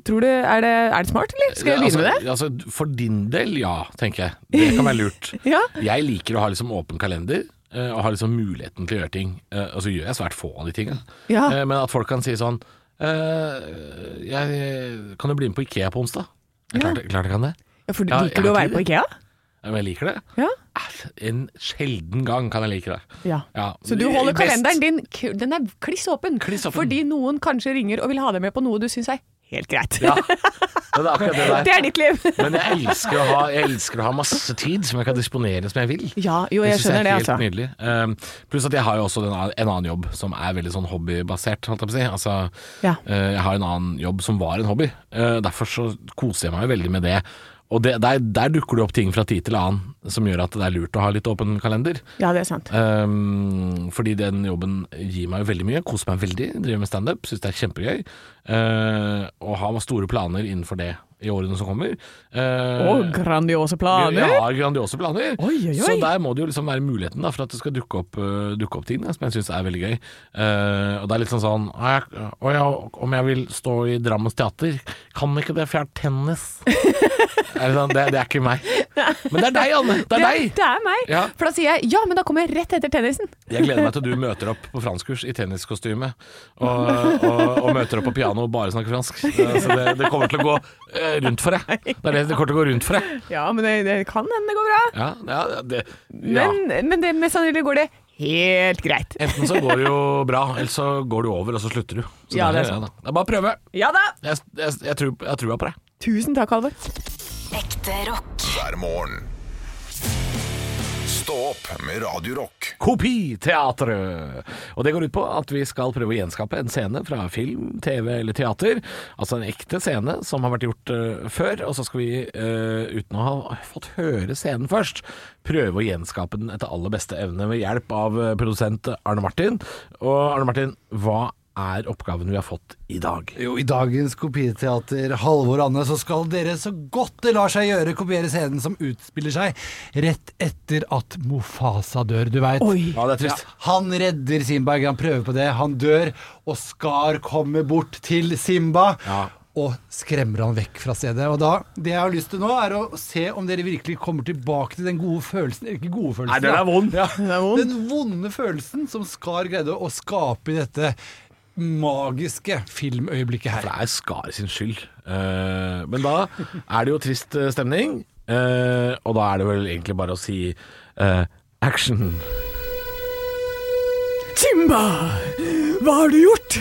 Speaker 3: Tror du, er, det, er det smart, eller? Skal jeg begynne med det?
Speaker 2: Altså, altså, for din del, ja, tenker jeg. Det kan være lurt.
Speaker 3: Ja.
Speaker 2: Jeg liker å ha liksom åpen kalender. eh, Og ha liksom muligheten til å gjøre ting. Eh, Og så gjør jeg svært få av de tinga.
Speaker 3: Ja.
Speaker 2: Eh, Men at folk kan si sånn eh, jeg, Kan du bli med på Ikea på onsdag? Ja. Klart, jeg- klart jeg kan det.
Speaker 3: Ja, for
Speaker 2: Ja, jeg
Speaker 3: Liker du å
Speaker 2: vet
Speaker 3: være på
Speaker 2: ikke.
Speaker 3: Ikea?
Speaker 2: Ja, Men jeg liker det.
Speaker 3: Ja.
Speaker 2: Eh, En sjelden gang kan jeg like det.
Speaker 3: Ja.
Speaker 2: Ja,
Speaker 3: Så du holder
Speaker 2: best.
Speaker 3: kalenderen din k- Den er kliss åpen,
Speaker 2: Kliss åpen.
Speaker 3: fordi noen kanskje ringer og vil ha deg med på noe du syns er helt greit.
Speaker 2: Ja, det er akkurat det der.
Speaker 3: Det er ditt liv!
Speaker 2: Men jeg elsker, å ha, jeg elsker å ha masse tid som jeg kan disponere som jeg vil.
Speaker 3: Ja, jo, jeg
Speaker 2: synes
Speaker 3: skjønner det,
Speaker 2: er
Speaker 3: altså.
Speaker 2: Helt nydelig. Um, pluss at jeg har jo også en, annen- en annen jobb som er veldig sånn hobbybasert, holdt jeg på å si. Altså,
Speaker 3: Ja.
Speaker 2: eh, jeg har en annen jobb som var en hobby. Eh, derfor så koser jeg meg veldig med det. Og det, der, der dukker det opp ting fra tid til annen som gjør at det er lurt å ha litt åpen kalender.
Speaker 3: Ja, det er sant.
Speaker 2: Um, fordi den jobben gir meg jo veldig mye. Koser meg veldig. Driver med standup. Syns det er kjempegøy. Uh, og har store planer innenfor det i årene som kommer.
Speaker 3: Å,
Speaker 2: Uh,
Speaker 3: grandiose planer!
Speaker 2: Jeg har grandiose planer.
Speaker 3: Oi, oi, oi.
Speaker 2: Så der må det jo liksom være muligheten da, for at det skal dukke opp, uh, dukke opp ting da, som jeg syns er veldig gøy. Uh, og det er litt sånn sånn «Å, jeg, å, ja, Om jeg vil stå i Drammens teater, kan ikke det, for jeg har tennis. er det, sånn, det, det er ikke meg. Men det er deg, Anne. Det er deg.
Speaker 3: Det er meg!
Speaker 2: Ja.
Speaker 3: For da sier jeg ja, men da kommer jeg rett etter tennisen.
Speaker 2: Jeg gleder meg til du møter opp på franskkurs i tenniskostyme, og, og, og møter opp på piano og bare snakker fransk. Eh, Så det, det kommer til å gå eh, rundt for deg. Det er det det kommer til å gå rundt for deg.
Speaker 3: Ja, men det, det kan hende det går bra.
Speaker 2: Ja, ja, det, ja.
Speaker 3: Men, men det mest sannsynlig går det helt greit.
Speaker 2: Enten så går det jo bra, eller så går du over, og så slutter du. Så
Speaker 3: Ja,
Speaker 2: der
Speaker 3: det er sant.
Speaker 2: da. Det er bare å prøve.
Speaker 3: Ja da!
Speaker 2: Jeg, jeg, jeg, tror, jeg tror på deg.
Speaker 3: Tusen takk, Halvor.
Speaker 8: Ekte rock.
Speaker 1: hver morgen. Stå opp med Radio Rock.
Speaker 2: Kopiteatret! Og det går ut på at vi skal prøve å gjenskape en scene fra film, TV eller teater. Altså en ekte scene som har vært gjort eh, før, og så skal vi, eh, uten å ha fått høre scenen først, prøve å gjenskape den etter aller beste evne ved hjelp av eh, produsent Arne Martin. Og Arne Martin, hva er oppgaven vi har fått i dag?
Speaker 7: Jo, I dagens kopiteater Halvor Anne, så skal dere så godt det lar seg gjøre kopiere scenen som utspiller seg rett etter at Mofasa dør, du veit.
Speaker 3: Oi.
Speaker 2: Ja, det er trist.
Speaker 7: Han redder Simba, han prøver på det. Han dør, og Skar kommer bort til Simba.
Speaker 2: Ja.
Speaker 7: Og skremmer han vekk fra stedet. Og da, Det jeg har lyst til nå, er å se om dere virkelig kommer tilbake til den gode følelsen Ikke gode følelsen,
Speaker 2: Nei, den er
Speaker 7: da.
Speaker 2: vond.
Speaker 7: Ja,
Speaker 3: er vond.
Speaker 7: Den vonde følelsen som Skar greide å skape i dette magiske filmøyeblikket her.
Speaker 2: For det er Skar sin skyld. Eh, men da er det jo trist eh, stemning, eh, og da er det vel egentlig bare å si eh, action.
Speaker 3: Simba! Hva har du gjort?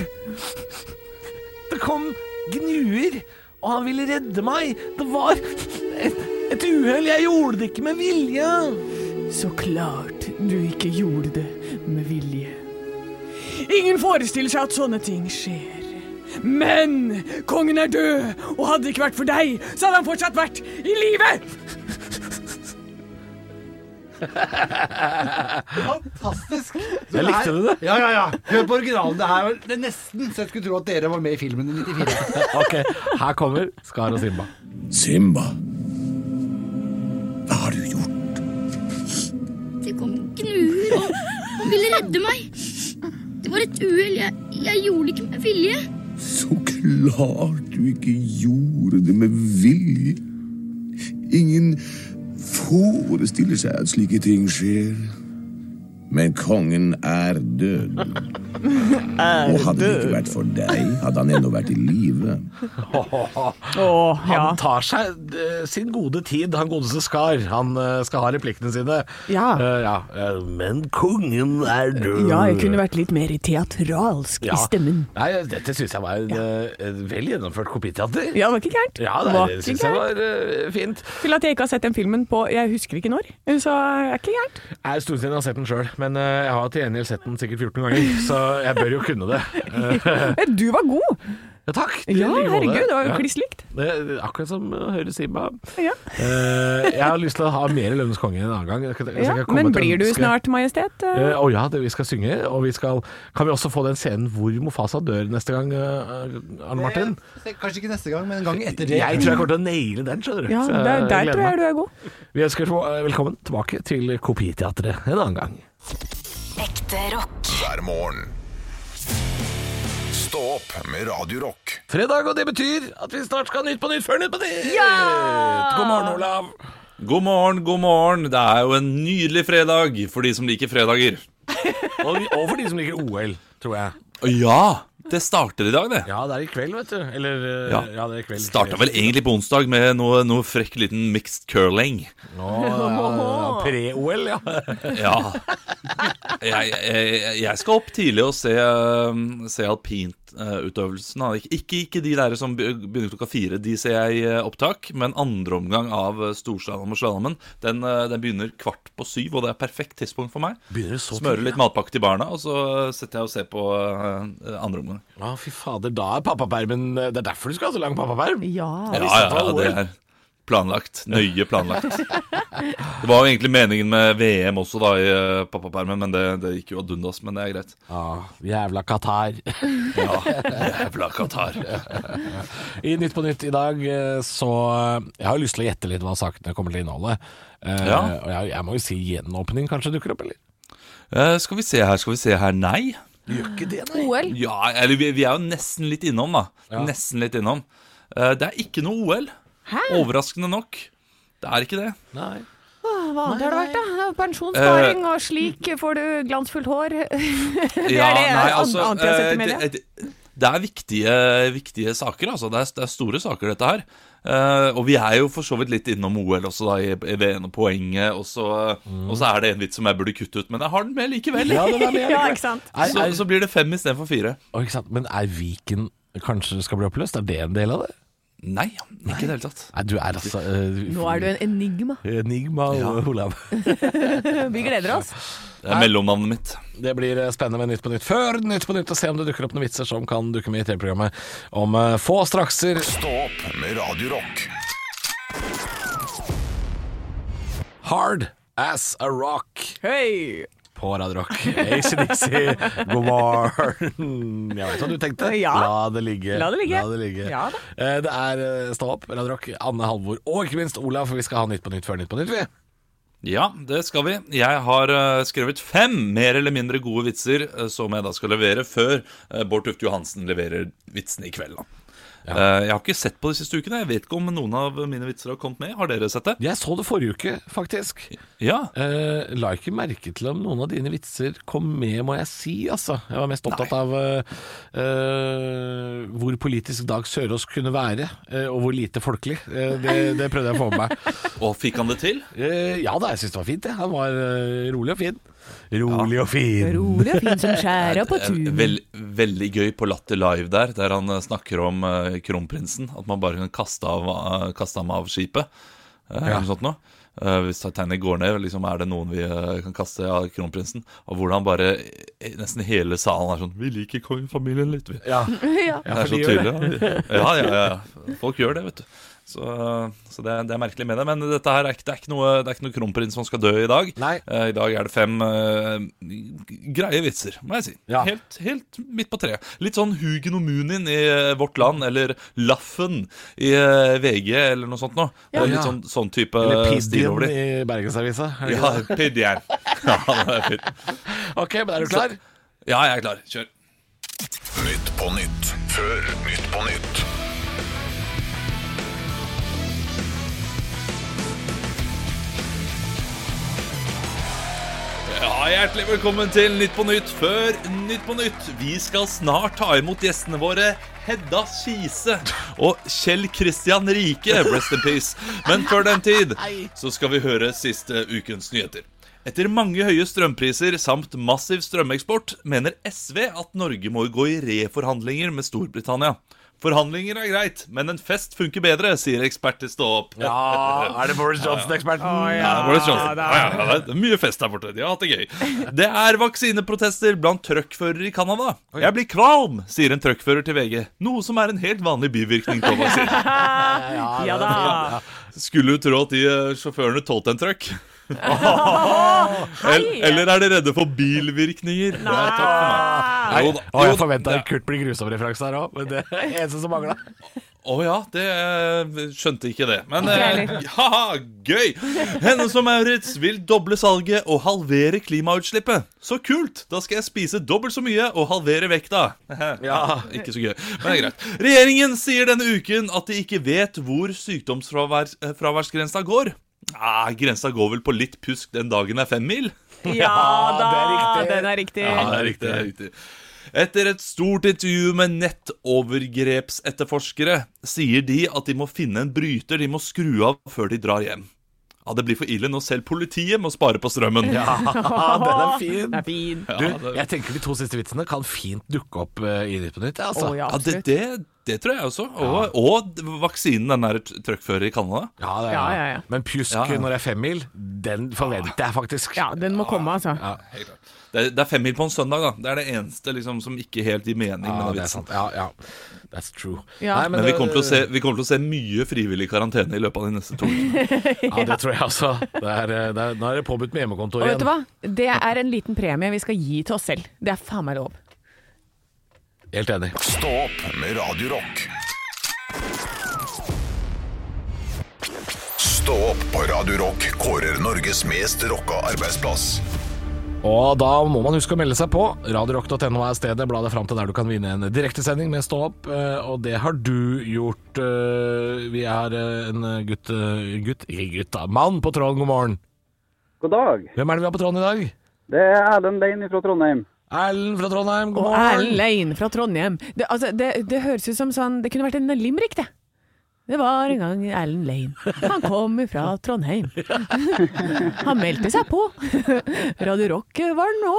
Speaker 2: Det kom gnuer, og han ville redde meg. Det var et, et uhell. Jeg gjorde det ikke med vilje.
Speaker 3: Så klart du ikke gjorde det med vilje. Ingen forestiller seg at sånne ting skjer. Men kongen er død, og hadde det ikke vært for deg, så hadde han fortsatt vært i live!
Speaker 7: Fantastisk!
Speaker 2: Jeg likte det,
Speaker 7: Ja, ja, ja. Hør på originalen. Det er, jo- det er nesten så jeg skulle tro at dere var med i filmen i 94.
Speaker 2: Ok, her kommer Skar og Simba.
Speaker 9: Simba, hva har du gjort? Det kom gnuer og og ville redde meg. Det var et uhell. Jeg, jeg gjorde det ikke med vilje.
Speaker 10: Så klart du ikke gjorde det med vilje. Ingen forestiller seg at slike ting skjer. Men kongen er død. Og hadde det ikke vært for deg, hadde han ennå vært i live.
Speaker 3: Åh, ja.
Speaker 2: Han tar seg eh, sin gode tid, han godeste Skar. Han eh, skal ha replikkene sine.
Speaker 3: Ja.
Speaker 2: Eh, ja. eh, Men kongen er død.
Speaker 3: ja, jeg kunne vært litt mer teatralsk
Speaker 2: Ja.
Speaker 3: i stemmen.
Speaker 2: Nei, dette syns jeg var en, eh, en vel gjennomført kopiteater.
Speaker 3: Ja, det var ikke gærent.
Speaker 2: Ja, det,
Speaker 3: Var
Speaker 2: det
Speaker 3: ikke
Speaker 2: syns jeg
Speaker 3: gærent.
Speaker 2: var eh, fint.
Speaker 3: Til at jeg ikke har sett den filmen på Jeg husker ikke når, så er det ikke gærent.
Speaker 2: Jeg er stort sett jeg har sett den sjøl, men eh, jeg har til gjengjeld sett den sikkert 14 ganger, så jeg bør jo kunne det. Eh,
Speaker 3: Men du var god!
Speaker 2: Ja, takk. det
Speaker 3: Ja,
Speaker 2: ligger på
Speaker 3: herregud, det var jo
Speaker 2: Ja.
Speaker 3: kliss likt.
Speaker 2: Det er akkurat som å høre Simba.
Speaker 3: Ja.
Speaker 2: Eh, jeg har lyst til å ha mer Løvenes konge en annen gang. Jeg skal- jeg skal ikke
Speaker 3: Ja,
Speaker 2: komme
Speaker 3: men
Speaker 2: til å
Speaker 3: blir du
Speaker 2: ønske-
Speaker 3: snart majestet?
Speaker 2: Eh, Å ja, det, vi skal synge. Og vi skal Kan vi også få den scenen hvor Mofasa dør neste gang, eh, Arne Martin?
Speaker 7: Kanskje ikke neste gang, men en gang etter det.
Speaker 2: Jeg tror jeg kommer til å naile den, skjønner du.
Speaker 3: Ja,
Speaker 2: Så
Speaker 3: der, der
Speaker 2: gleder
Speaker 3: tror jeg
Speaker 2: meg.
Speaker 3: du er god.
Speaker 2: Vi ønsker så- eh, velkommen tilbake til Kopiteatret en annen gang.
Speaker 8: Ekte rock.
Speaker 1: hver morgen. Stå opp med Radio Rock.
Speaker 2: Fredag, og det betyr at vi snart skal ha Nytt på Nytt før Nytt på Nytt! God morgen, Olav.
Speaker 11: God morgen, god morgen. Det er jo en nydelig fredag for de som liker fredager.
Speaker 2: Og, og for de som liker OL, tror jeg.
Speaker 11: Og ja, det starter i dag, det.
Speaker 2: Ja, det er i kveld, vet du. Eller eh, ja,
Speaker 11: Ja.
Speaker 2: det er i kveld.
Speaker 11: Starta vel egentlig på onsdag med noe, noe frekk liten mixed curling.
Speaker 2: Ja, Pre-OL, ja.
Speaker 11: Ja. Jeg, jeg, jeg skal opp tidlig og se, eh, se alpintutøvelsen. Ikke, ikke de der som be- begynner klokka fire, de ser jeg eh, opptak. Men andre omgang av eh, storslalåm og slalåmen, den, eh, den begynner kvart på syv, og det er perfekt tidspunkt for meg.
Speaker 2: Begynner det så
Speaker 11: Smører litt matpakke til barna, og så setter jeg og ser på eh, andre omgang.
Speaker 2: Å, fy fader, da er pappapermen eh, Det er derfor du skal ha så lang pappaperm.
Speaker 3: Ja.
Speaker 11: Ja,
Speaker 2: visste
Speaker 11: ja,
Speaker 2: at det var
Speaker 11: ja, det
Speaker 2: OL.
Speaker 11: er planlagt. Nøye planlagt. Det var jo egentlig meningen med VM også, da, i eh, pappapermen, men det, det gikk jo ad undas. Men det er greit.
Speaker 2: Ja, jævla Qatar.
Speaker 11: Ja, jævla Qatar.
Speaker 2: I Nytt på Nytt i dag eh, så Jeg har jo lyst til å gjette litt hva sakene kommer til å inneholde. Eh,
Speaker 11: Ja.
Speaker 2: Og jeg, jeg må jo si gjenåpning kanskje dukker opp, eller?
Speaker 11: Eh, skal vi se her, skal vi se her. Nei.
Speaker 2: Gjør ikke det, nei.
Speaker 3: OL.
Speaker 11: Ja, eller vi, vi er jo nesten litt innom, da. Nesten litt innom. Eh, det er ikke noe OL. Overraskende nok. Det er ikke det.
Speaker 2: nei.
Speaker 3: Hva annet har det vært, da? Pensjonssparing og slik får du glansfullt hår. det
Speaker 11: Ja, nei,
Speaker 3: an-
Speaker 11: altså,
Speaker 3: annet jeg har sett i
Speaker 11: eh,
Speaker 3: media.
Speaker 11: det- det- Det er viktige, viktige saker, altså. Det er, det er store saker, dette her. Eh, og vi er jo for så vidt litt innom OL også, da, i, i det ene poenget. Og så, og så er det en vits som jeg burde kutte ut, men jeg har den med likevel.
Speaker 2: Ja, den er med,
Speaker 3: Ja, ikke sant.
Speaker 2: Er,
Speaker 11: så,
Speaker 2: er,
Speaker 11: så blir det fem istedenfor fire.
Speaker 2: Å, ikke sant? Men er Viken kanskje skal bli oppløst? Er det en del av det?
Speaker 11: Nei, ikke i det hele tatt.
Speaker 2: Nei, du er altså
Speaker 3: Nå er du en enigma.
Speaker 2: Enigma, Olav.
Speaker 3: Vi gleder oss.
Speaker 11: Det er mellomnavnet mitt.
Speaker 2: Det blir eh, spennende med Nytt på Nytt før Nytt på Nytt, og se om det dukker opp noen vitser som kan dukke med i TV-programmet om eh, få strakser.
Speaker 1: Stå opp med Radio Rock.
Speaker 2: Hard as a rock
Speaker 3: Hei!
Speaker 2: på Radio Rock. ACDC, god morgen. Jeg vet hva du tenkte.
Speaker 3: Ja.
Speaker 2: La det ligge.
Speaker 3: La det ligge. Ja da.
Speaker 2: Eh, Det er eh, Stå opp, Radio Rock, Anne Halvor og ikke minst Olav, for vi skal ha Nytt på Nytt før Nytt på Nytt, vi.
Speaker 11: Ja, det skal vi. Jeg har eh, skrevet fem mer eller mindre gode vitser eh, som jeg da skal levere før eh, Bård Tufte Johansen leverer vitsene i kveld. da. Eh, jeg har ikke sett på de siste ukene. Jeg vet ikke om noen av mine vitser har kommet med. Har dere sett det?
Speaker 2: Jeg så det forrige uke, faktisk.
Speaker 11: Ja.
Speaker 2: Eh, la ikke merke til om noen av dine vitser kom med, må jeg si. Altså. Jeg var mest opptatt av eh, eh, hvor politisk Dag Sørås kunne være, eh, og hvor lite folkelig. Eh, det, det prøvde jeg å få med meg.
Speaker 11: Og fikk han det til?
Speaker 2: Eh, ja da, jeg syns det var fint. Det. Han var eh, rolig og fin. Rolig og fin.
Speaker 3: Rolig og fin som skjæra på
Speaker 11: Eh,
Speaker 3: tunet.
Speaker 11: Vel, veldig gøy på Latter Live der, der han eh, snakker om eh, kronprinsen. At man bare kan kaste, av, eh, kaste ham av skipet. eh, eller noe sånt noe. Eh, hvis Titanic går ned, liksom, er det noen vi eh, kan kaste av kronprinsen? Og hvordan bare eh, nesten hele salen er sånn Vi liker kongefamilien litt, vi.
Speaker 2: Ja.
Speaker 3: Ja.
Speaker 11: det er så
Speaker 2: de gjør
Speaker 11: tydelig. da. Ja, ja, ja. Folk gjør det, vet du. Så, eh, så det, det er merkelig med det. Men dette her er ikke, det er ikke noe, det er ikke noe kronprins som skal dø i dag. Eh, I dag er det fem eh, greie vitser, må jeg si. Helt, helt midt på treet. Litt sånn Hugen og Munin i eh, Vårt Land, eller Laffen i eh, VG, eller noe sånt noe.
Speaker 2: Ja.
Speaker 11: Det er Litt sånn, sånn type
Speaker 2: Eller
Speaker 11: stil over
Speaker 2: Pidgin
Speaker 11: de.
Speaker 2: i Bergensavisa. er det
Speaker 11: Ja,
Speaker 2: ikke det?
Speaker 11: Pidgin. Ja, det er fint.
Speaker 2: Ok, men er du klar?
Speaker 11: Ja, jeg er klar. Kjør.
Speaker 1: Nytt på nytt før Nytt på nytt.
Speaker 11: Ja, Hjertelig velkommen til Nytt på Nytt før Nytt på Nytt. Vi skal snart ta imot gjestene våre Hedda Skise og Kjell Christian Rike. Rest in peace. Men før den tid så skal vi høre siste ukens nyheter. Etter mange høye strømpriser samt massiv strømeksport mener SV at Norge må gå i reforhandlinger med Storbritannia. Forhandlinger er greit, men en fest funker bedre, sier ekspert til Stå opp.
Speaker 2: Ja, er det Boris Johnson-eksperten? Å, ja.
Speaker 11: Ja, det var litt sånn.
Speaker 2: Ja, det
Speaker 11: Ja,
Speaker 2: er-
Speaker 11: ja, ja, det er mye fest der borte. De har hatt det gøy. Det er vaksineprotester blant trøkkførere i Canada. Jeg blir kvalm, sier en trøkkfører til VG. Noe som er en helt vanlig bivirkning på vaksine.
Speaker 3: Ja da.
Speaker 11: Skulle du tro at de eh, sjåførene tålte en trøkk? Eller, eller er de redde for bilvirkninger? Nei, takk for meg. Jo da,
Speaker 2: Å,
Speaker 11: jo
Speaker 2: jeg
Speaker 11: da.
Speaker 2: forventa en Kurt blir grusom-referanse her òg, men det er eneste som mangla.
Speaker 11: Å ja, det eh, skjønte ikke det. Men
Speaker 2: Ikke jeg
Speaker 11: eh, haha, gøy! Hennes og Maurits vil doble salget og halvere klimautslippet. Så kult! Da skal jeg spise dobbelt så mye og halvere vekta.
Speaker 2: Ja.
Speaker 11: Ikke så gøy, men det er greit. Regjeringen sier denne uken at de ikke vet hvor sykdomsfraværsgrensa går. Ah, grensa går vel på litt pusk den dagen det er fem mil?
Speaker 3: Ja da, den er riktig.
Speaker 11: Ja, det er riktig, det er riktig. Etter et stort intervju med nettovergrepsetterforskere sier de at de må finne en bryter de må skru av før de drar hjem. Ja, Det blir for ille når selv politiet må spare på strømmen.
Speaker 2: Ja, den er fin.
Speaker 3: Den er fin.
Speaker 11: Ja,
Speaker 2: Du,
Speaker 11: det-
Speaker 2: jeg tenker de to siste vitsene kan fint dukke opp eh, i Nytt på nytt. Altså.
Speaker 11: ja, det, det, det tror jeg også. Og, og vaksinen den der tr- trøkkfører i Canada.
Speaker 2: Ja, det er-
Speaker 3: Ja, ja, ja.
Speaker 2: Men pjusk
Speaker 11: Ja, ja.
Speaker 2: når det er femmil, den forventer jeg faktisk.
Speaker 3: Ja, den må komme, altså.
Speaker 11: Helt klart. Det, er- det er femmil på en søndag, da. Det er det eneste liksom, som ikke helt gir mening
Speaker 2: Ja,
Speaker 11: med den
Speaker 2: det er
Speaker 11: vitsen.
Speaker 2: sant. Ja, ja. That's true.
Speaker 3: Ja.
Speaker 2: Nei,
Speaker 11: men vi, kommer til å se, vi kommer til å se mye frivillig karantene i løpet av de neste to ukene.
Speaker 2: Ja, det tror jeg også. Det er, eh, det er, nå er det påbudt med hjemmekontor
Speaker 3: Og vet
Speaker 2: igjen.
Speaker 3: du hva? Det er en liten premie vi skal gi til oss selv. Det er faen meg lov.
Speaker 2: Helt enig.
Speaker 1: Stå opp med Radio Rock. Stå opp på Radio Rock kårer Norges mest rocka arbeidsplass.
Speaker 2: Og da må man huske å melde seg på. Radiorock.no er stedet. Bla deg fram til der du kan vinne en direktesending med Stå opp. eh, Og det har du gjort. eh, Vi er eh, en gutt, eh, gutt Ikke gutt, da. Mann på tråden, god morgen.
Speaker 12: God dag.
Speaker 2: Hvem er det vi har på tråden i dag?
Speaker 12: Det er Erlend Lein fra Trondheim.
Speaker 2: Erlend fra Trondheim, god
Speaker 3: Og
Speaker 2: morgen.
Speaker 3: Erlend Lein fra Trondheim. Det, altså, det, det høres ut som sånn Det kunne vært en limerick, det. Det var en gang Erlend Lein. Han kom fra Trondheim. Han meldte seg på. Radio Rock var han nå.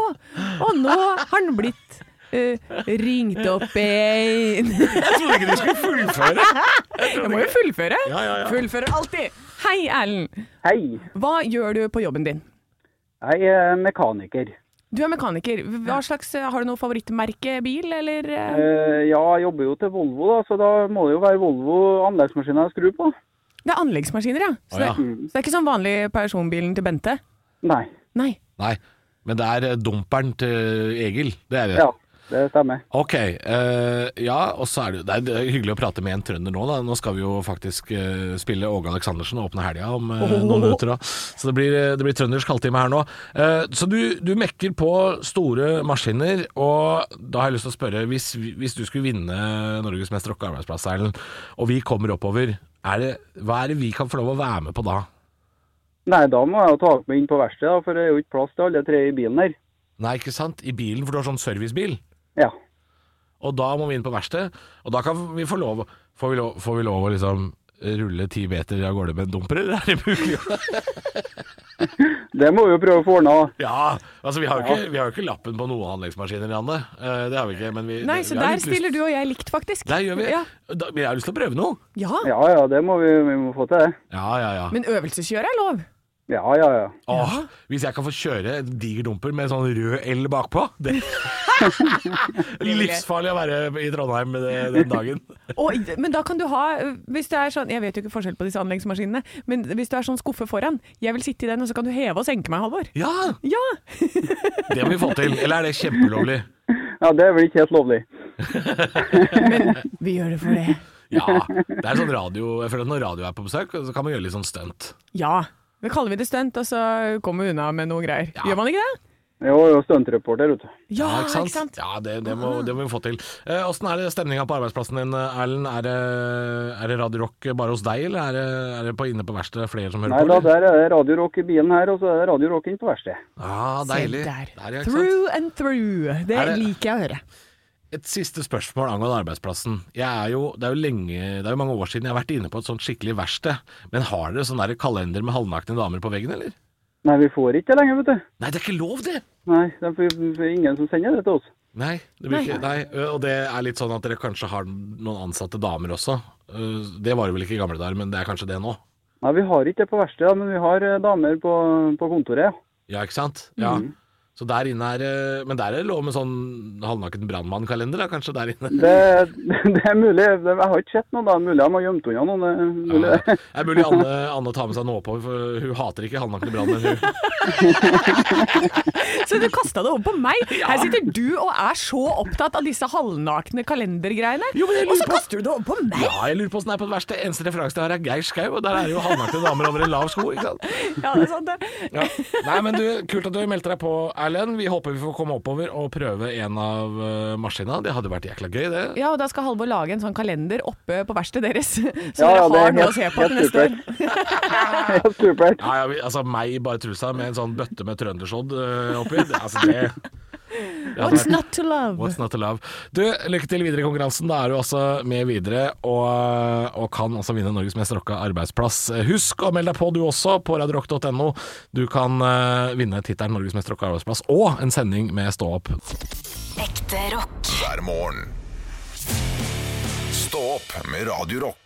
Speaker 3: Og nå har han blitt eh, ringt opp ein
Speaker 2: Jeg trodde ikke du skulle fullføre.
Speaker 3: Jeg må jo fullføre.
Speaker 2: Ja, ja, ja.
Speaker 3: Fullfører alltid. Hei, Erlend.
Speaker 12: Hei.
Speaker 3: Hva gjør du på jobben din?
Speaker 12: Jeg er mekaniker.
Speaker 3: Du er mekaniker. Hva slags, eh, har du noe favorittmerkebil, eller? eh?
Speaker 12: Eh, ja, jeg jobber jo til Volvo, da, så da må det jo være Volvo anleggsmaskinen jeg skrur på.
Speaker 3: Det er anleggsmaskiner, ja. Så,
Speaker 2: Å, ja.
Speaker 3: Det, så det er ikke sånn vanlig personbilen til Bente?
Speaker 12: Nei.
Speaker 3: Nei.
Speaker 2: Nei, men det er eh, dumperen til Egil. Det er det.
Speaker 12: Ja, det stemmer.
Speaker 2: Ok, eh, ja, og så er det, det er- det er hyggelig å prate med en trønder nå da Nå skal vi jo faktisk eh, spille Åge Aleksandersen og åpne helga om eh, noen minutter da Så det blir, eh, det blir trønders kalltime her nå Eh, Så du, du mekker på store maskiner Og da har jeg lyst til å spørre Hvis, vi- hvis du skulle vinne Norges mest rocka arbeidsplass, Erlend Og vi kommer oppover er det, Hva er det vi kan få lov å være med på da?
Speaker 12: Nei, da må jeg jo ta meg inn på verkstedet, da, for det er jo ikke plass til alle tre i bilen her.
Speaker 2: Nei, ikke sant? I bilen, for du har sånn servicebil
Speaker 12: Ja.
Speaker 2: Og da må vi inn på verksted, og da kan vi få lov Får vi lov, får vi lov å liksom rulle ti meter av gårde med en dumper, eller er det mulig?
Speaker 12: Det må vi jo prøve å få ordna.
Speaker 2: Ja, altså vi har jo ikke, vi har jo ikke lappen på noen anleggsmaskiner i landet. Eh, Det har vi ikke, men vi
Speaker 3: Nei,
Speaker 2: det-
Speaker 3: så
Speaker 2: vi har
Speaker 3: der
Speaker 2: litt lyst-
Speaker 3: stiller du og jeg likt, faktisk.
Speaker 2: Der gjør vi.
Speaker 3: Ja.
Speaker 2: Da, men jeg har lyst til å prøve noe.
Speaker 3: ja.
Speaker 12: Ja ja, det må vi, vi må få til det.
Speaker 2: Ja, ja, ja.
Speaker 3: Men øvelseskjøre er lov.
Speaker 12: Ja, ja, ja.
Speaker 2: Åh, hvis jeg kan få kjøre en diger dumper med sånn rød L bakpå det. Livsfarlig å være i Trondheim det- den dagen.
Speaker 3: Og, men da kan du ha hvis det er sånn, Jeg vet jo ikke forskjell på disse anleggsmaskinene, men hvis du er sånn skuffe foran Jeg vil sitte i den, og så kan du heve og senke meg, Halvor.
Speaker 2: Ja! Det må vi få til. Eller er det kjempeulovlig?
Speaker 12: Ja, Det er vel ikke helt lovlig.
Speaker 3: Men vi gjør det for det.
Speaker 2: Ja. Det er sånn radio Jeg føler at når radio er på besøk, så kan man gjøre litt sånn stunt.
Speaker 3: Ja. Da kaller vi det stunt, og så kommer vi unna med noe greier. Gjør man ikke det?
Speaker 12: Jo, jo, stuntreporter, vet du.
Speaker 3: Ja, ikke sant? Ah.
Speaker 2: Ja, det, det, må, det må vi få til. Eh, Åssen er det stemninga på arbeidsplassen din, eh, Erlend? Er det, er det Radio Rock bare hos deg, eller er det, er det på, inne på verkstedet flere som hører
Speaker 12: Nei
Speaker 2: på?
Speaker 12: da, der er det Radio Rock i bilen her, og så er det Radio Rock inn på verkstedet.
Speaker 2: Ah, deilig.
Speaker 3: Se der.
Speaker 2: Der, ja, ikke sant?
Speaker 3: Through and through. Det,
Speaker 2: Er det-
Speaker 3: liker jeg å høre.
Speaker 2: Et siste spørsmål angående arbeidsplassen. Jeg er jo, det, er jo lenge, det er jo mange år siden jeg har vært inne på et sånt skikkelig verksted. Men har dere sånn der kalender med halvnakne damer på veggen, eller?
Speaker 12: Nei, vi får ikke det lenger, vet du.
Speaker 2: Nei, det er ikke lov, det!
Speaker 12: Nei, det er for- for ingen som sender det til oss.
Speaker 2: Nei, det blir ikke, nei. ø, Og det er litt sånn at dere kanskje har noen ansatte damer også. Ø, Det var det vel ikke i gamle dager, men det er kanskje det nå.
Speaker 12: Nei, vi har ikke det på verkstedet, men vi har eh, damer på, på kontoret. ja.
Speaker 2: Ja, ikke sant? Ja.
Speaker 12: Mhm.
Speaker 2: Så der inne er ø, Men der er det lov med sånn halvnaken brannmannkalender, da, kanskje, der inne?
Speaker 12: Det, det er mulig. Jeg har ikke sett noen, da. Mulig de har gjemt unna noen. det er Mulig.
Speaker 2: Det er mulig Anne, Anne tar med seg noe på, for hun hater ikke halvnakne brannmenn, hun.
Speaker 3: Så du kasta det over på meg! Her sitter du og er så opptatt av disse halvnakne kalendergreiene, og så kaster du det over på meg!
Speaker 2: Ja, jeg lurer på åssen det er på det verste. Eneste referanse jeg har, er Geir Skau, og der er det jo halvnakne damer over en lav sko, ikke sant?
Speaker 3: Ja, det er sant, det.
Speaker 2: Ja. Nei, men du, kult at du meldte deg på, Erlend. Vi håper vi får komme oppover og prøve en av ø, maskina. Det hadde vært jækla gøy, det.
Speaker 3: Ja, og da skal Halvor lage en sånn kalender oppe på verkstedet deres. Så
Speaker 2: Ja, ja,
Speaker 3: dere
Speaker 2: det er
Speaker 3: har noe å
Speaker 2: helt-
Speaker 3: se på til
Speaker 2: helt
Speaker 3: neste år.
Speaker 12: Supert.
Speaker 2: Ja, ja, vi, altså meg i bare trusa med en sånn bøtte med trøndersodd eh, oppi. Det, altså, det, det hadde
Speaker 3: What's
Speaker 2: vært-
Speaker 3: not to love?
Speaker 2: What's not to love. Du, lykke til videre i konkurransen. Da er du altså med videre og, og kan altså vinne Norges mest rocka arbeidsplass. Eh, Husk å melde deg på du også, på radiorock.no. Du kan eh, vinne tittelen Norges mest rocka arbeidsplass og en sending med Stå opp.
Speaker 8: Ekte rock.
Speaker 1: Hver morgen. Stå opp med Radio Rock.